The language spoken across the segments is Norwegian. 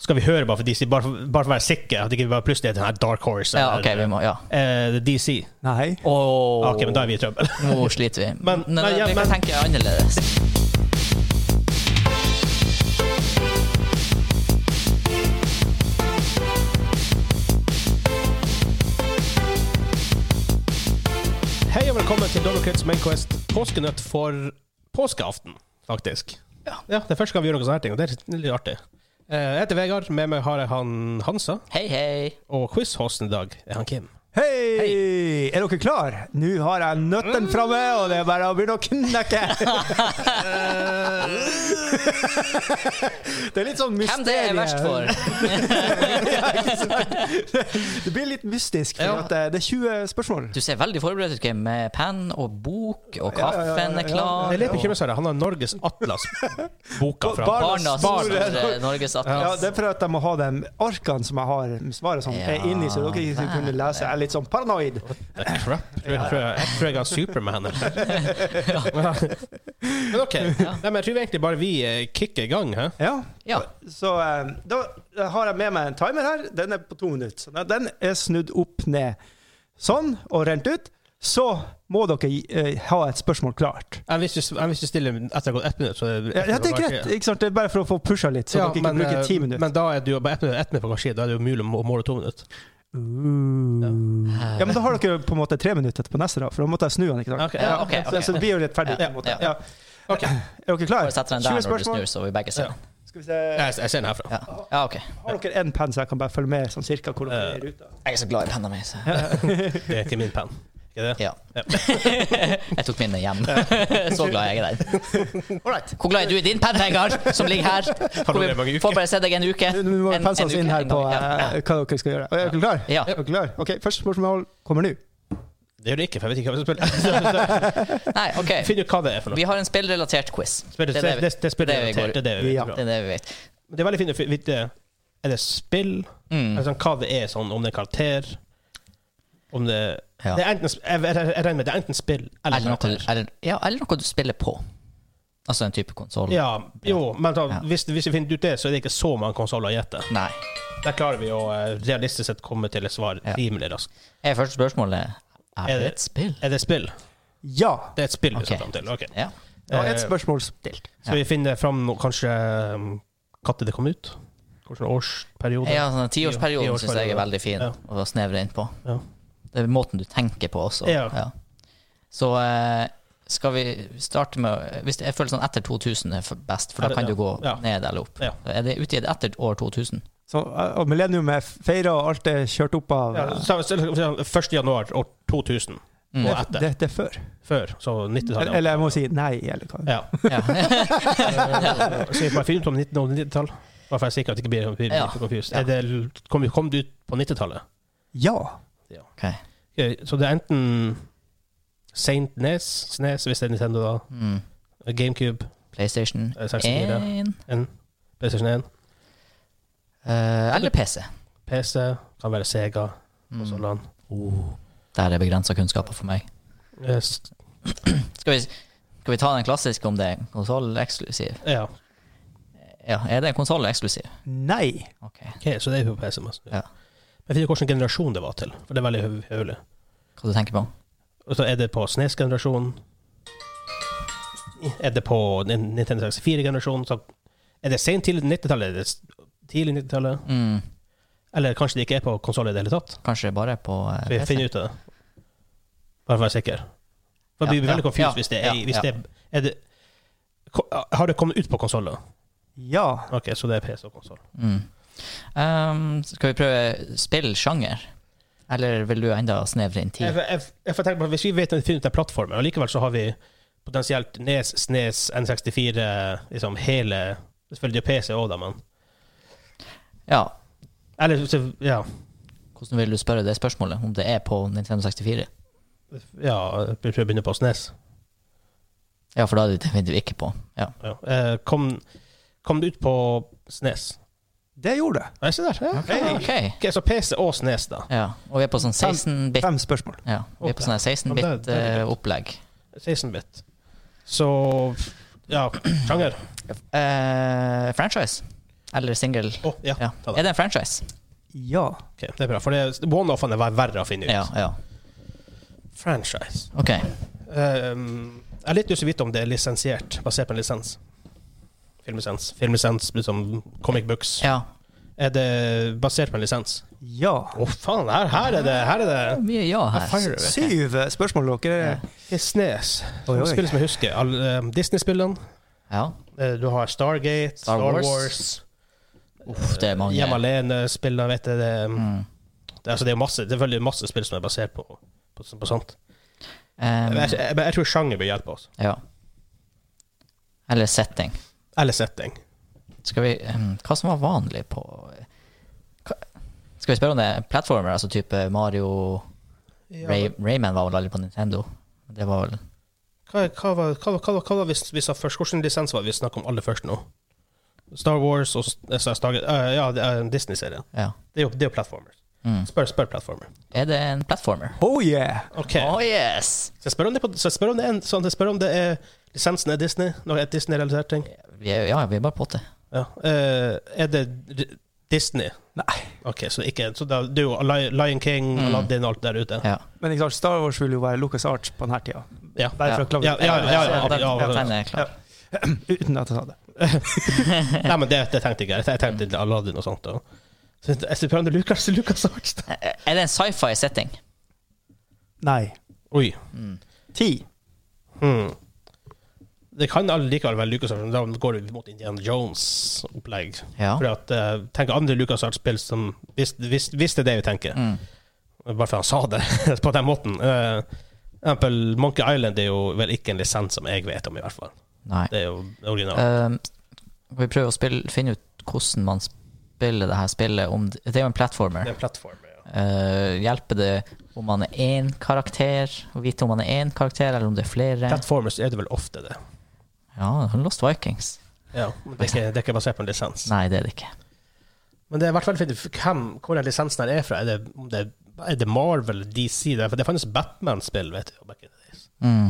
skal vi høre bare for DC, bare for, bare for å være sikker at det ikke bare plutselig er den her Dark Horse Ja, OK, eller vi må Ja. eh, DC. Nei. Åh, Ok, men da er vi i trøbbel. Nå sliter vi. Men- Nei, nei, ja, vi kan men- tenke annerledes. Hei og velkommen til Dobbelkrets Mainquest påskenøtt for påskeaften, faktisk. Ja. Det er første gang vi gjør noe sånne her ting, og det er litt artig. Eh, Jeg heter Vegard, med meg har jeg han Hansa, Hei, hei. og quiz-hosten i dag er han Kim. Hei! Er dere klar? Nå har jeg nøtten framme, og det er bare å begynne å knekke. det er litt sånn mysterium. Hvem det er verst for? Det blir litt mystisk, for Ja. at eh, det er 20 spørsmål. Du ser veldig forberedt ut, Kim, med penn og bok, og Ja, ja, ja, kaffen ja, er ja. klar. Jeg er litt og bekymret for det. Han har Norges Atlas-boka fra Barn- Barnas Barnas- store Norges Ja, atlas. det er for at jeg må ha de arkene som jeg har med svaret som er inni, så dere ikke skal kunne lese. Jeg er litt sånn paranoid. The crap. Jeg tror jeg, tror jeg, jeg, tror jeg har Superman eller Men ok. Nei, men jeg tror egentlig bare vi eh, kicker i gang, hæ? Ja. Ja. Så eh, da har jeg med meg en timer her. Den er på to minutter. Så den er snudd opp ned sånn og rent ut. Så må dere eh, ha et spørsmål klart. Enn hvis, du- enn hvis du stiller etter å ha gått ett minutt, så er Ja, det er greit. ikke sant? Det er bare for å få pusha litt, så Ja, dere ikke eh, bruker ti minutter. men da er det jo bare ett minutt, ett minutt på hver side. Da er det jo mulig å må- måle to minutter. Uh. Ja, men da har dere på en måte tre minutter på neste, da, for da måtte jeg snu den. ikke sant? Ok, ja, ok, Så, så det blir jo rettferdig. på en måte. Ja, Ja. ja. Ok. Er dere klare? Bare setter den der 20 når du snur, spørsmål. så vi begge ser Ja. den. Skal vi se. Jeg, jeg ser den herfra. Ja. ja, OK. Har dere én penn, så jeg kan bare følge med sånn cirka hvor dere er i ruta? Jeg er så glad i penna mi, så Det er ikke min penn. Ikke det? Ja. Jeg tok min hjem. Så glad jeg er i den. Hvor glad er du i din penn, Vegard, som ligger her? Har du det i mange Får uker? bare se deg en uke. Nå må vi En- pense en oss uke, inn her en på gang. Ja, ja. eh, hva dere skal gjøre. Er dere klar? Ja. Er dere klar? Ok, Første spørsmål kommer nå. Det gjør det ikke, for jeg vet ikke hva jeg skal spille. Nei, OK. Finn ut hva det er for noe. Vi har en spillrelatert quiz. Spiller, det, det vi- det, det, spiller det vi går- relatert, det er det vi vet. Ja. bra. Det er det vi vet. Men Det er veldig fint å fi- vite Er det spill? Mm. Altså, hva det er, sånn, om det er karakter Om det, Ja. det er enten, sp- jeg, jeg, jeg regner med det er enten spill eller, Eller noe, karakter. eller, ja, eller noe du spiller på. Altså en type konsoll. Ja, jo, men da, Ja. hvis, hvis vi finner ut det, så er det ikke så mange konsoller å gjette. Nei. Der klarer vi å eh, realistisk sett komme til et svar Ja. rimelig raskt. Er første spørsmålet Er Er det det- et spill? Er det spill? Ja. Det er et spill vi skal Ok. fram til. ok. Ja. Da er Eh, et spørsmål stilt. Skal vi finne fram noe, kanskje um, når det kom ut? Kanskje en årsperiode? ja sånn, tiårsperioden syns jeg er Tiårsperiode. veldig fin Ja. å snevre inn på. Ja. Det er måten du tenker på også. Ja. Så eh, skal vi starte med hvis det, Jeg føler sånn etter 2000 er for- best, for Er det- da kan du gå ja. ned eller opp. Ja. Er det utgitt etter år 2000? Så, eh, og millennium er feira, og alt er kjørt opp av Ja, eh, så- så- så- 1. januar år 2000 Mm. og etter. det, det er før. Før. Så 90-tallet. Eller jeg må si nei, eller hva. Ja. Ja. Så jeg bare finner ut om 19- og 90-tall. Bare for jeg er sikker at jeg ikke blir, blir Ja. blir confused. Ja. Er det, kom, kom det ut på 90-tallet? Ja. Ok. Eh, Så det er enten Saint Nes, Snes, hvis det er Nintendo, da. Mm. GameCube, PlayStation Eh, 64. 1 en, PlayStation 1, eh, eller PC. PC, kan være Sega og Mm. sånn. land. Der er begrensa kunnskaper for meg. Eh, s- Skal vi, skal vi ta den klassiske om det er konsoll eksklusiv? Ja, Ja, er det konsoll eksklusiv? Nei. Ok. ok, så det er jo på PC. masse. Ja. Jeg finner ut hvilken generasjon det var til, for det er veldig høv- høvelig. Hva du tenker på? Og så er det på SNES-generasjonen. Er det på Nin- Nintendo 64-generasjonen? Så er det sent tidlig 90-tallet? Er det s- tidlig 90-tallet? Mm, Eller kanskje det ikke er på konsoll i det hele tatt? kanskje bare på eh, Så vi PC? finner ut av det. Bare for å være sikker. For Ja, jeg blir ja, veldig confused ja, hvis det ja, er, hvis ja. det er, er det, ko- Har det kommet ut på konsoller? Ja. OK, så det er PC og konsoll. Mm. Um, skal vi prøve spillsjanger? Eller vil du enda snevre inn Jeg, tid? jeg, jeg får tenke på at Hvis vi vet at vi finner ut den plattformen, og likevel så har vi potensielt Nes, Snes, N64, liksom hele Selvfølgelig PC òg, da, men Ja. Eller så- ja. Hvordan vil du spørre det spørsmålet? Om det er på Nintendo 64? Ja, jeg tror jeg begynner på Snes. Ja, for da er det definitivt ikke på. Ja. Ja. Eh, Kom, kom det ut på Snes? Det gjorde det. Nei, se der. Ja. Ah, Hey. Ok. Ok, så PC og Snes, da. Ja. Og vi er på sånn 16-bit Fem spørsmål. ja, Vi er på sånn her Ja, det- 16-bit det er eh, greit. opplegg. 16-bit. Så Ja, sjanger. Eh, franchise? Eller single. Å, ja, Ja. ta Er det. det en franchise? Ja. Ok, det er bra, for det- one-offene var verre å finne ut. Ja, ja. Franchise. OK. Um, jeg er litt usikker på om det er lisensiert, basert på en lisens. Filmlisens. Filmlisens, liksom comic books. Ja. Er det basert på en lisens? Ja. Å, faen! Her, her er det her er det. Mye ja her. Fire, vet du. Syv eh, spørsmål, dere. Snes. Oi, oi. Spill som jeg husker. Alle, um, Disney-spillene. Ja. Eh, Du har Stargate, Star Star, Wars. Wars, Uff, det er mange. Hjem alene-spillene, vet du. Det, Mm. det, altså, det er jo masse, det er veldig masse spill som er basert på, på, på sånt. Um, Men jeg, jeg, men jeg tror sjanger bør hjelpe oss. ja. Eller setting. Eller setting. Skal vi um, Hva som var vanlig på hva, Skal vi spørre om det er platformer, altså type Mario Ray, Rayman var vel aldri på Nintendo? Det var vel Hva, hva, var- hva, hva, hva var vi, vi sa først? Hvilken lisens var det vi snakket om aller først nå? Star Wars og eh, så er Stargate eh, Ja, det er en Disney-serie. Ja. Det er jo, det er jo platformer. Mm. Spør, spør platformer. Er det en platformer? Oh yeah! OK. Oh yes! Så jeg spør om det, på, så jeg spør om det, er, en- sånn, jeg spør om det er lisensen er Disney? Noe er Disney-realisert ting? Vi er, ja, vi er bare på det. Ja. eh, er det D- Disney? Nei. Ok, så, ikke, så da, det er jo Li- Lion King, Mm. Aladdin og alt der ute? Ja. Men ikke sant, Star Wars vil jo være Lucas Arts på denne tida. Ja. Bare for å klage. Ja, ja, ja, ja, Den, ja, ja. den er klar. Uten at jeg sa det. Nei, men det, det tenkte jeg ikke. Jeg tenkte Aladdin og sånt. Og. Så jeg spør om det er Lucas, Lucas Arts. da. Er det en sci-fi setting? Nei. Oi. Ti. Hmm. Det kan likevel være Lucas Arts, men da går det mot Indiana Jones-opplegg. Ja. For at, eh, tenk andre Lucas Arts-spill som hvis, hvis, hvis det er det vi tenker. Mm. Bare for han sa det på den måten. Eh, for eksempel Monkey Island er jo vel ikke en lisens som jeg vet om, i hvert fall. Nei. Det er jo originalt. Um, vi prøver å spille, finne ut hvordan man spiller det her spillet. Om det, det er jo en Det platformer. er en plattform. Ja. Uh, hjelper det om man er én karakter? Å vite om man er én karakter, eller om det er flere? Platformers er det vel ofte, det. Ja, sånn Lost Vikings. Ja, men det er ikke, det er ikke basert på en lisens. Nei, det er det ikke. Men det er i hvert fall fint hvem, hvor den lisensen her er fra. Er det, om det, er det Marvel, DC? Det, er- for det fantes Batman-spill, vet du. back in the days. Mm.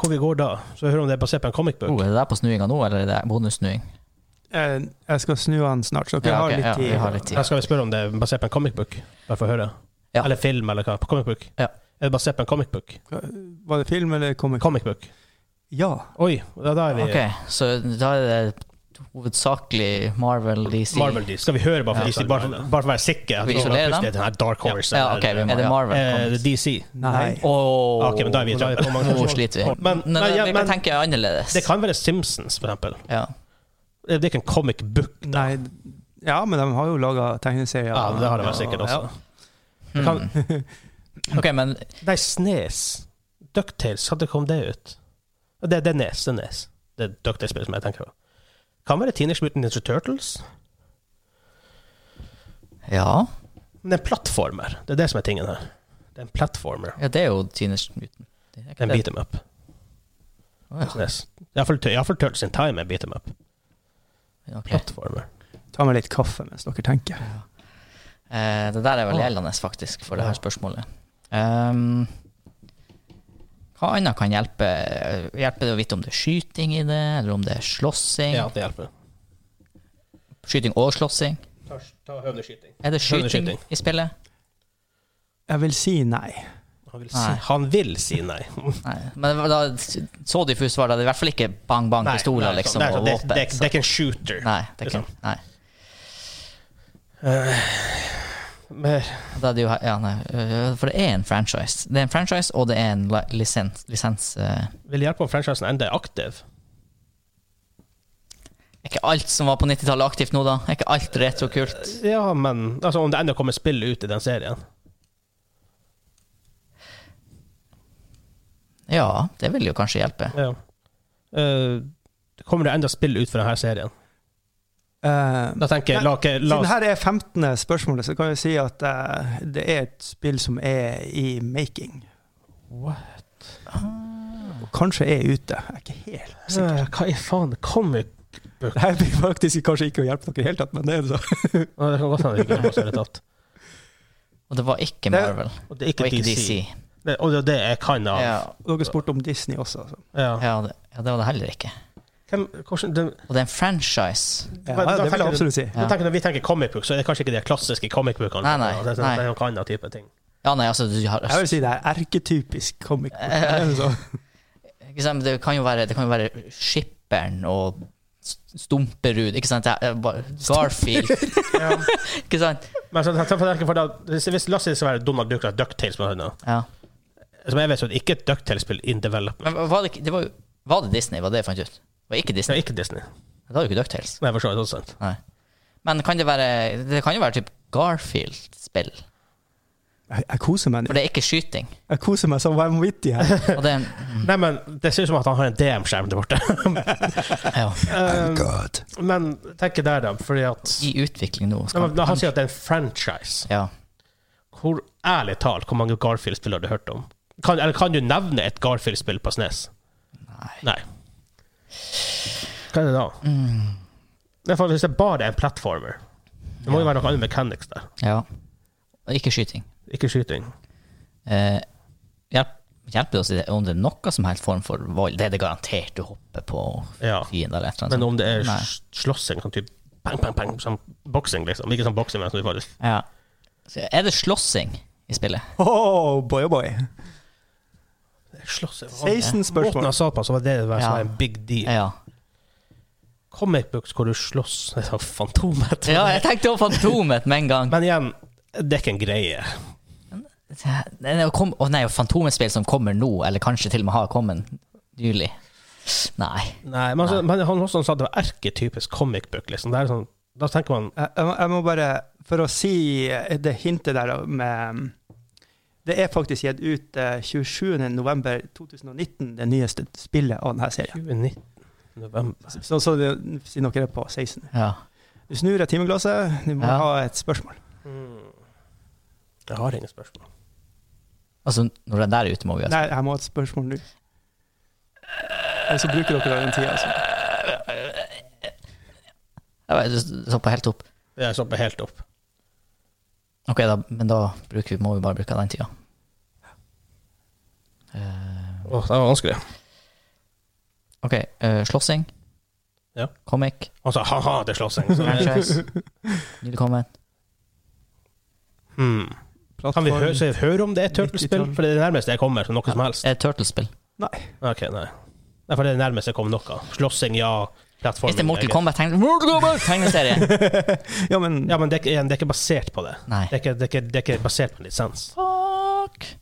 Hvor vi går da? Så jeg hører om det er basert på en comic book. Oh, er det der på snuinga nå, eller er det bonussnuing? Eh, Jeg skal snu han snart, så dere Ja, ok, har litt ja, tid. vi har litt tid. Her skal vi spørre om det er basert på en comic book, bare for å høre. Ja. Eller film, eller hva. På comic book. Ja. Er det basert på en comic book? Var det film eller comic? Comic book. Ja. Oi, da, da er vi Ok, så da er det hovedsakelig Marvel, DC Marvel DC. Skal vi høre, bare for, Ja. DC, bare, for- bare for å være sikker? at Vi det var isolerer plutselig dem? den her Dark Horse. Ja, ok, vi må- eller, er det Marvel? eh, comics? DC. Nei. Åh, Ok, men da er vi, da er vi på mange nå sliter vi. Men, Nei, nei, ja, eh, vi kan men tenke annerledes. det kan være Simpsons, for eksempel. Ja. Det er ikke en comic book. Nei. Ja, men de har jo laga tegneserier. Ja, det har det vært sikkert også. Hmm. Kan- Mm. Ok, men Nei, Snes. Ducktails, hadde kom det ut? Det, det er Nes. Det er Nes. Det er Ducktails-spillet som jeg tenker på. Kan være Teenage Mutant Ninja Turtles. ja. Men det er en plattformer. Det er det som er tingen her. Det er en plattformer. ja, det er jo Teenage Mutant. Det er Det er ikke en det. beat em up. Åh, ja. Snes. Iallfall Turtles in Time er beat em up. Ok. Plattformer. Ta med litt kaffe mens dere tenker. Eh, det der er vel Åh. gjeldende, faktisk, for det her Ja. spørsmålet. Ehm, hva annet kan hjelpe? Hjelper det å vite om det er skyting i det, eller om det er slåssing? Ja, det hjelper. Skyting og slåssing? Ta, ta høvneskyting. Er det skyting Høvneskyting. i spillet? Jeg vil si nei. Han vil si Nei. nei. Han vil si nei. Nei. Men da, så diffus var det. Det er i hvert fall ikke bang, bang, Nei, pistoler nei, liksom, det er sånn- og det, våpen. det, det, det er ikke en shooter. så- nei, det er ikke, liksom. nei. Mer. Da er det jo, he- ja, nei. øh, For det er en franchise. Det er en franchise, og det er en li- lisens. lisens øh. Vil hjelpe om franchisen enda er aktiv. er ikke alt som var på 90-tallet aktivt nå, da? Er ikke alt retrokult? Ja, men altså, om det enda kommer spill ut i den serien. Ja, det vil jo kanskje hjelpe. Ja. Eh, kommer det enda spill ut fra denne serien? Eh, Da tenker jeg, la, ikke- la Siden oss her er 15. spørsmålet, så kan vi si at eh, det er et spill som er i making. Og kanskje er ute. Jeg er ikke helt sikker. Eh, Hva i faen? Comic Det her blir faktisk kanskje ikke å hjelpe dere i det hele tatt, men det er det så. Å, Det kan godt hende det ikke er oss i det hele tatt. Og det var ikke Det- Marvel, Og det er og ikke ikke DC. DC. Det, og det er det jeg kan av. Ja, Ja. Dere spurte om Disney også. Altså. ja, det, ja, det var det heller ikke. Hvem, hvordan, de, Og det er en franchise. Ja, Men da det vil tenker jeg du- absolutt si. jeg tenker Når vi tenker comic book, så er det kanskje ikke de klassiske comic bookene. Nei, nei, det, er sånn- nei. det er noen annen type ting. Ja, nei, altså, du har Jeg vil si det er erketypisk comic. book. Eh, Er det sånn? ikke sant, det, kan jo være, det kan jo være skipperen og s- Stumperud, ikke sant? Det er bare Garfield, ikke sant? Men så, så- for- for da, hvis, hvis La oss si det skal være Donald Duck eller Ducktails med henne. Ja. Som jeg vet, så er det ikke et Ducktails-spill in development. Men var det, ikke- det var, jo- var det Disney, var det jeg fant ut? Det var ikke Det Disney. er ikke Disney. Det var jo ikke DuckTales. Nei, for så vidt. også sant. Nei. Men kan det være Det kan jo være typ Garfield-spill. Jeg, jeg koser meg For nå. det er ikke skyting. Jeg koser meg så vanvittig her. Og det er en Nei, men det ser ut som at han har en DM-skjerm der borte. ja, Eh, men tenk der, da. Fordi at i utvikling nå. Nei, Skal, men, La oss si at det er en franchise. ja. Hvor ærlig talt, hvor mange Garfield-spill har du hørt om? Kan, eller kan du nevne et Garfield-spill på SNES? Nei. Nei. Hva er det da? Mm. Det er faktisk- Hvis det bare er en platformer Det må jo være noe annet mechanics der. ja. Og ikke skyting. Ikke skyting. Eh, hjelp, hjelper det oss i det, om det er noe som helst form for vold? Det er det garantert du hopper på Ja. fiender eller et eller annet. Men om det er Nei. sl- slåssing, sånn type bang, bang, bang, som boksing, liksom. Ikke som boksing, men som du faktisk Ja. Så er det slåssing i spillet? Oh, boy, oh boy. Slåssing 16 Måten spørsmål. jeg sa på, så var det det var- som Ja. var en big deal. Ja. Comic books hvor du slåss Det er sånn Fantomet. ja jeg tenkte på Fantomet med en gang. Men igjen, det er ikke en greie. Nei, det kom, å nei, Fantomet-spill som kommer nå, eller kanskje til og med har kommet nylig. Nei. Nei, men, altså, men han også sa det var erketypisk comic book, liksom. Det er sånn, da tenker man Jeg, jeg må- jeg må bare, for å si det hintet der med Det er faktisk gitt ut eh, 27.11.2019, det nyeste spillet av denne serien. 2019 november. Så, så det, siden dere er på 16. Ja. Du snur deg timeglasset, du må Ja. ha et spørsmål. Jeg har ingen spørsmål. Altså, når den der er ute, må vi altså. Nei, jeg må ha et spørsmål nå. Og så bruker dere den tida. Altså. Jeg vet, Det det stopper helt opp. Jeg stopper sånn helt opp. Ok, da, men da bruker vi, må vi bare bruke den tida. Eh, Åh, det var vanskelig. ok, eh, slåssing. Ja. Comic. Han sa ha-ha til slåssing. så- Franchise. Nylig kommet. Hmm. Kan vi høre, så høre om det er et 90-tall. turtlespill? For det er det nærmeste jeg kommer som noe som helst. Er det Turtles-spill? Ok, nei. Nei, for det er det nærmeste jeg kom noe. Slåssing, ja. Plattforming. Hvis det er Mortal greit. Kombat, tegn Mortal Kombat tegneserie! Ja, men Ja, men det er, ikke- igjen, det er ikke basert på det. Nei. Det er ikke, det er ikke, det er ikke basert på en lisens. Fuck!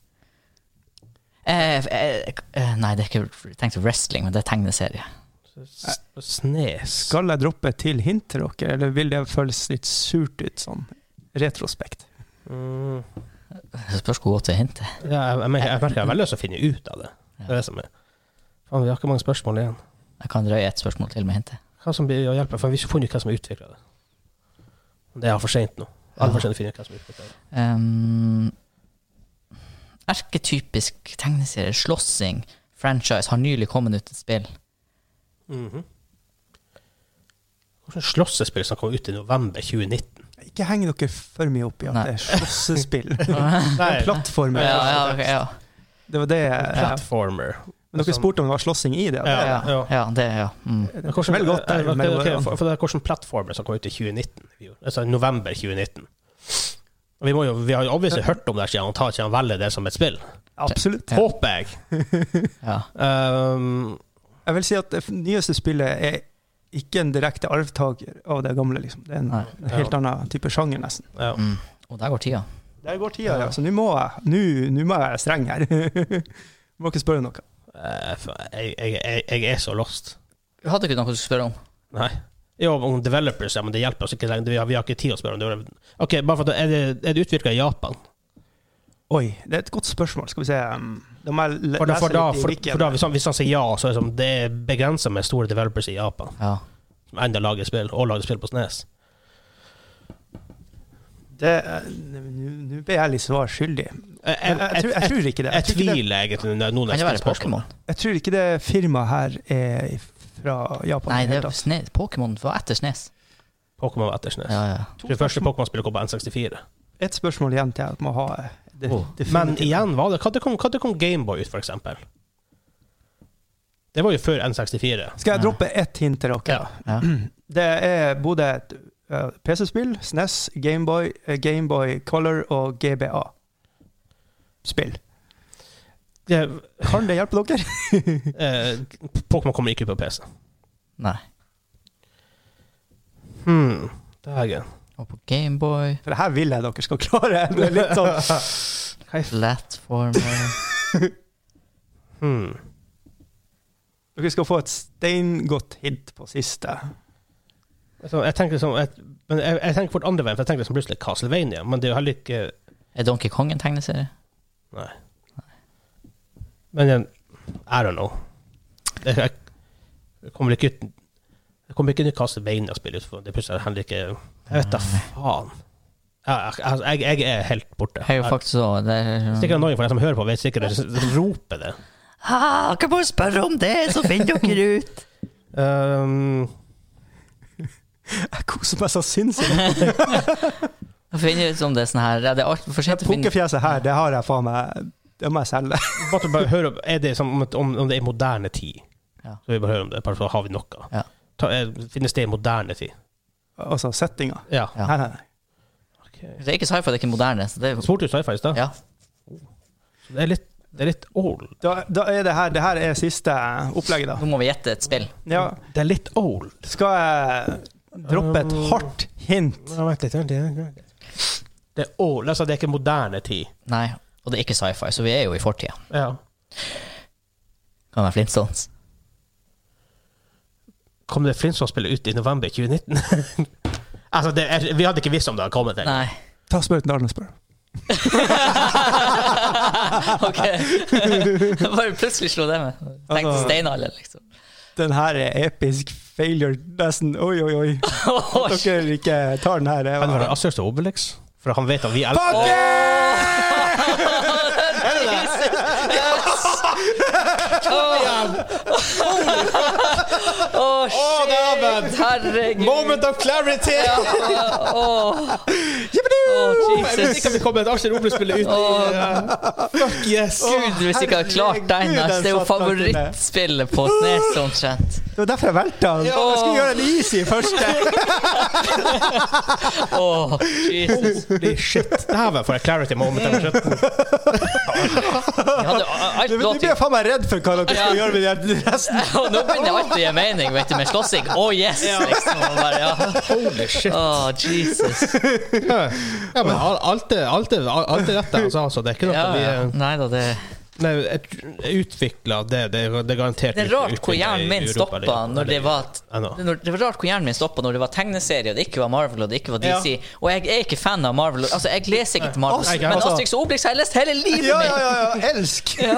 Eh, eh, eh, nei, det er ikke jeg tenkte wrestling, men det er tegneserie. S- Snes. skal jeg droppe et til hint til dere, eller vil det føles litt surt ut sånn retrospekt? Mm. Det spørs hvor godt det er hintet. Ja, jeg, jeg, jeg merker jeg er veldig lyst til å finne ut av det. Det er det som er. Faen, vi har ikke mange spørsmål igjen. Jeg kan drøye et spørsmål til med hintet. Hva som blir å hjelpe, for vi har ikke funnet ut hvem som utvikla det. Det er for sent nå. Alle for sent å finne ut hvem som utviklet det. Ehm, erketypisk tegneserie, slåssing, franchise, har nylig kommet ut et spill. Mhm. Hvordan slåssespill som kom ut i november 2019? Ikke heng dere for mye opp i at Nei. det er slåssespill. Nei, Plattformer. ja, ja, ok, ja. Det var det ja. platformer. Men dere spurte om det var slåssing i det. Ja, Ja, ja. ja, det, ja. Mm. Men Det er vel godt der, eh, ok, men- ok, for, for det er hvordan plattformer som kom ut i 2019? i fjor. Altså i november 2019. Og Vi, må jo, vi har jo obviously hørt om det her siden, og tar ikke han velger det som et spill. Absolutt. Ja. Håper jeg. Ja. Um, Jeg vil si at det nyeste spillet er ikke en direkte arvtaker av det gamle. liksom. Det er en, Nei. en helt annen type sjanger, nesten. ja. Mm. Og der går tida. Der går tida, altså, ja. Så nå må jeg nå- nå må jeg være streng her. må ikke spørre noe. Eh, for jeg, jeg, jeg, jeg er så lost. Du hadde ikke noe du skulle spørre om? Nei. Jo, om developers, ja, men det hjelper oss ikke lenger. Vi har, vi har ikke tid å spørre om det. Ok, bare for at, Er det, er det utvikla i Japan? Oi, det er et godt spørsmål. Skal vi se um, Da må jeg le- For da, for da, lese for, litt i for da wikiene. hvis, han, hvis han sier ja, så er det, som, det er begrensa med store developers i Japan Ja. som enda lager spill, og lager spill på E Snes. Det er- Nå nå ble jeg litt svar skyldig. Jeg, Jeg, jeg, tror- jeg tror ikke det. jeg tror ikke det- tviler egentlig når noen Kan det være stiller spørsmål. Pokémon? Jeg tror ikke det firmaet her er fra Japan. Nei, i det hele er tatt. Snes. Pokémon var etter Snes. Pokémon var etter Snes. Ja, ja. Jeg tror Det første Pokémon-spillet kom på N64. Et spørsmål igjen til jeg må ha. eh, Det, Oh. definitivt. Men igjen, hva det, hva det kom, hva det kom Gameboy ut, for eksempel? Det var jo før N64. Skal jeg droppe ett hint til dere? Ja. Ja. Det er både et eh, PC-spill, SNES, Gameboy, eh, Gameboy Color og GBA-spill. Det, Kan det hjelpe dere? eh, Pokémon kommer ikke ut på PC. Nei. Hmm. Dægen. Og på Gameboy, For det her vil jeg dere skal klare. Det er litt sånn platformer Hmm. Dere skal få et steingodt hint på siste. Så jeg tenker liksom jeg, men jeg, jeg tenker fort andre veien, for jeg tenker liksom plutselig Castlevania, men det er jo heller ikke Er Donkey Kong en tegneserie? Men jeg, I don't know. Det, jeg, det kommer ikke ut Det kommer ikke nytt Castlevania-spill ut, for det er plutselig heller ikke Jeg vet da faen. Jeg, jeg, jeg, jeg er helt borte. Jeg er jo faktisk så det er, sånn- Sikkert annoying for de som hører på, vet sikkert de roper det. Ah, Kan bare spørre om det, så finner dere ut! Um, Jeg koser meg så sinnssykt. Da finner vi ut om det er sånn her ja, Det er alt for sent å finne Pukkefjeset her, det har jeg faen meg Det må jeg selge. bare til å bare høre, om- er det som om, et- om, om det er moderne tid? Ja. Så vi bare hører om det, bare så har vi noe. Ja. Ta, eh, finnes det i moderne tid? Altså settinga. Ja. Ja. Nei, nei, nei. Okay. Det er ikke sci-fi, det er ikke moderne. Så det er, Spurte du sci-fi i stad? ja. Det, er litt- det er litt old. Da, da er det her Det her er siste opplegget, da. Nå må vi gjette et spill. Ja, Det er litt old. skal jeg droppe et hardt hint? Det er old, altså det er ikke moderne tid. Nei, og det er ikke sci-fi, så vi er jo i fortida. Ja. Kan være Flintstones. Kom det Flintstone-spillet ut i november 2019? altså, det er, vi hadde ikke visst om det hadde kommet. egentlig. Nei. Ta spør uten Arne spør. ok. Bare plutselig slo det med. Tenkte Altså- steinalder, liksom. Den her er episk failure, nesten. Oi, oi, oi. At dere ikke tar den her. det Kan det var- være Asterix og Obelix? For han vet at vi elsker Fuck yeah! Å, shit! Herregud. of clarity! Åh, åh. Åh, Jeg visste Jesus. ikke at vi kom med et Asterix og Obelix-spill ut. Åh. Ja. Fuck yes! Gud, hvis ikke jeg har klart den. Herregud, ass. Det er jo den satt langt inne. favorittspillet på Snes omtrent. Det var derfor jeg valgte den. Ja. Jeg skulle gjøre den easy først. Åh, Jesus. Holy shit. Dæven, for et clarity moment. jeg må skjønne. Jeg hadde alt Du, du låt blir jo jeg faen meg redd for hva dere skal Ja. gjøre med den resten. Åh, Nå begynner alt å gi mening, vet du, med slåssing. Å, yes! Liksom, og bare, ja. Holy shit. Åh, Jesus. Ja, men al- alt er, alt er, alt er rett der, altså, altså. Det er ikke noe Ja, vi ja. eh, Nei da, det Nei, jeg utvikla det, det, det er garantert Det er rart hvor utviklet i hjernen min Europa liksom. stoppa League. når det var at- I know. det er når- Det var rart hvor hjernen min stoppa når det var tegneserie, og det ikke var Marvel, og det ikke var DC. Og jeg er ikke fan av Marvel. Altså, jeg leser ikke til Marvel. Nei, ikke jeg Men også. Asterix og Obelix har jeg lest hele livet Ja, ja, mitt! ja, ja. Elsk! Ja. Ja,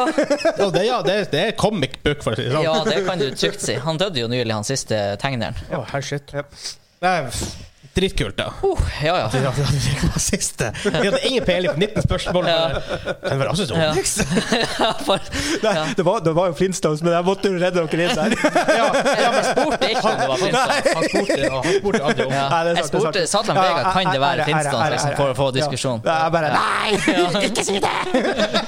det, ja, det, det er comic book, for å si det sånn. ja, det kan du trygt si. Han døde jo nylig, han siste tegneren. Å, her shit. Yep. Nei, pff, dritkult, da. Uh, ja, ja. Ja, det var siste. Vi hadde ingen peiling på 19 spørsmål. Ja. Men altså hva synes du om Obelix? Ja. For- Nei, Ja. det, var, det var jo Flintstones, men jeg måtte jo redde dere inn der. Jeg spurte ikke om det var Flintstones. Han spurte, ja, han spurte aldri om Ja. Jeg Nei, det er sant, det er spurte sant. Sadlan Vega Ja, kan det ære, ære, være Flintstones ære, liksom, ære. for å få Ja. diskusjon. Ja, jeg bare Nei! Ikke si det!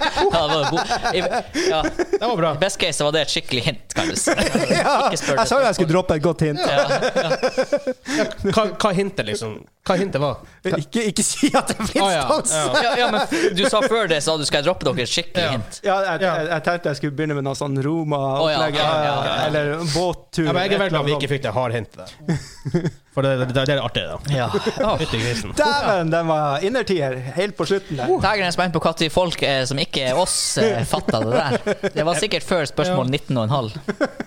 Ja, det var bo- i- ja. Det var bra. Best case så var det et skikkelig hint, kan du si. Ja. Ikke spør Jeg sa jo jeg skulle droppe et godt hint. Hva, hva hintet, liksom? Hva hintet var? Ikke, ikke si at det er Flintstones! Å, ja, Ja, ja, men du sa før det, sa du skal jeg droppe dere et skikkelig Ja. hint. Ja, jeg, jeg, jeg tenkte jeg skulle begynne med noe sånn Å, ja, Roma-opplegg. ok, ja, ja, ja. Eller båttur. Ja, men jeg er et veldig glad vi ikke eller annet. fikk det harde hintet der. For det, det, det er artig, da. Ja. Oh. Fytti grisen. Dæven, den var innertier helt på slutten der. Dagen er spent på når folk eh, som ikke er oss, eh, fatta det der. Det var sikkert før spørsmål 19 og en halv.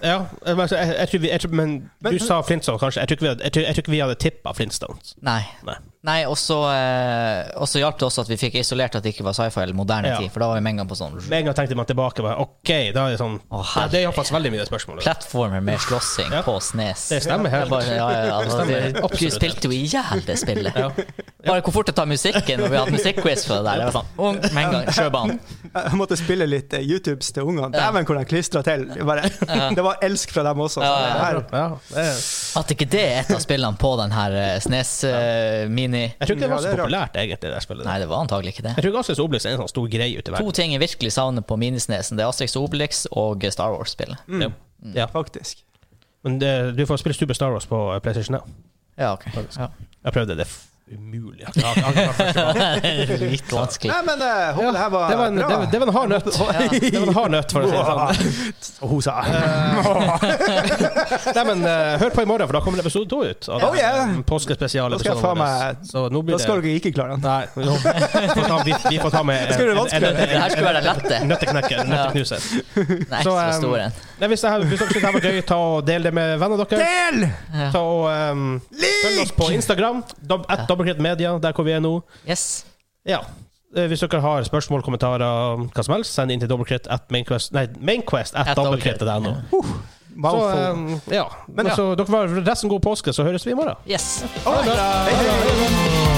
Ja, men altså, jeg, jeg tror vi, jeg tror, men du Men- sa Flintstones, kanskje. Jeg tror ikke vi hadde, jeg tror, jeg tror ikke vi hadde tippa Flintstones. Nei. Nei. Nei, og så eh, og så hjalp det også at vi fikk isolert at det ikke var sci-fi eller moderne Ja. tid, for da var vi med en gang på sånn Med en gang tenkte man tilbake bare, OK, da er det sånn Å, ja, Det er iallfall veldig mye spørsmål. plattformer med slåssing Ja. på snes. Det stemmer helt. Jeg bare, ja, ja, ja, stemmer helt. det- du Absolutt. spilte jo i hjel det spillet. Ja. Bare hvor fort jeg tar musikken, og vi hadde musikkquiz for det der. Det var sånn, ung, med en gang, sjøbanen. Jeg måtte spille litt eh, YouTubes til ungene. Dæven, hvor de klistra til! Det Bare, det var elsk fra dem også. Så Ja, ja, det ja. her, Ja, det er, At ikke det er et av spillene på den her eh, Snes eh, Mini jeg tror ikke det var Ja, så det er populært, egentlig, det der spillet. Nei, det var antagelig ikke det. Jeg tror Gassens Obelix er en sånn stor greie ute i To verden. ting jeg virkelig savner på Minisnesen, det er Asterix og Obelix og Star Wars-spillet. Mm. Mm. Ja. faktisk. Men det, du får spille Super Star Wars på eh, PlayStation Now. Ja, ok. Faktisk. Ja. Jeg prøvde det. f- Umulig. Jeg har- jeg har ikke vært første gang. Litt vanskelig. Nei, men eh, håper Ja, det her var, Det var en, det, bra. var- det var en hard nøtt. Det var en hard nøtt, for å si det sånn. Og hun sa Eh, Nei, men eh, hør på i morgen, for da kommer episode to ut. Av Oh, yeah. den påskespesiale Da skal jeg episoden faen vår. meg- Så nå blir Da det skal dere ikke klare den. Nei, jo. vi får ta, vi, vi får ta med Skal det være vanskeligere? Det her skulle være det lette. nøtteknekker. Nøtteknuser. Nei, Så, så um, stor en. Nei, hvis det her, hvis dere synes det her var gøy, ta og del det med vennene deres. Del! Ta og ehm, Følg oss på Instagram, dob- at dobbeltkrittmedia, der hvor vi er nå. Yes. Ja. Eh, Hvis dere har spørsmål, kommentarer, hva som helst, send inn til dobbeltkritt at mainquest Nei, mainquest at At dobbeltkritt.no. Så Mouthful. eh, ja. Men ja. så dere får ha resten god påske, så høres vi i morgen. Yes. Ha det bra. Hei, hei.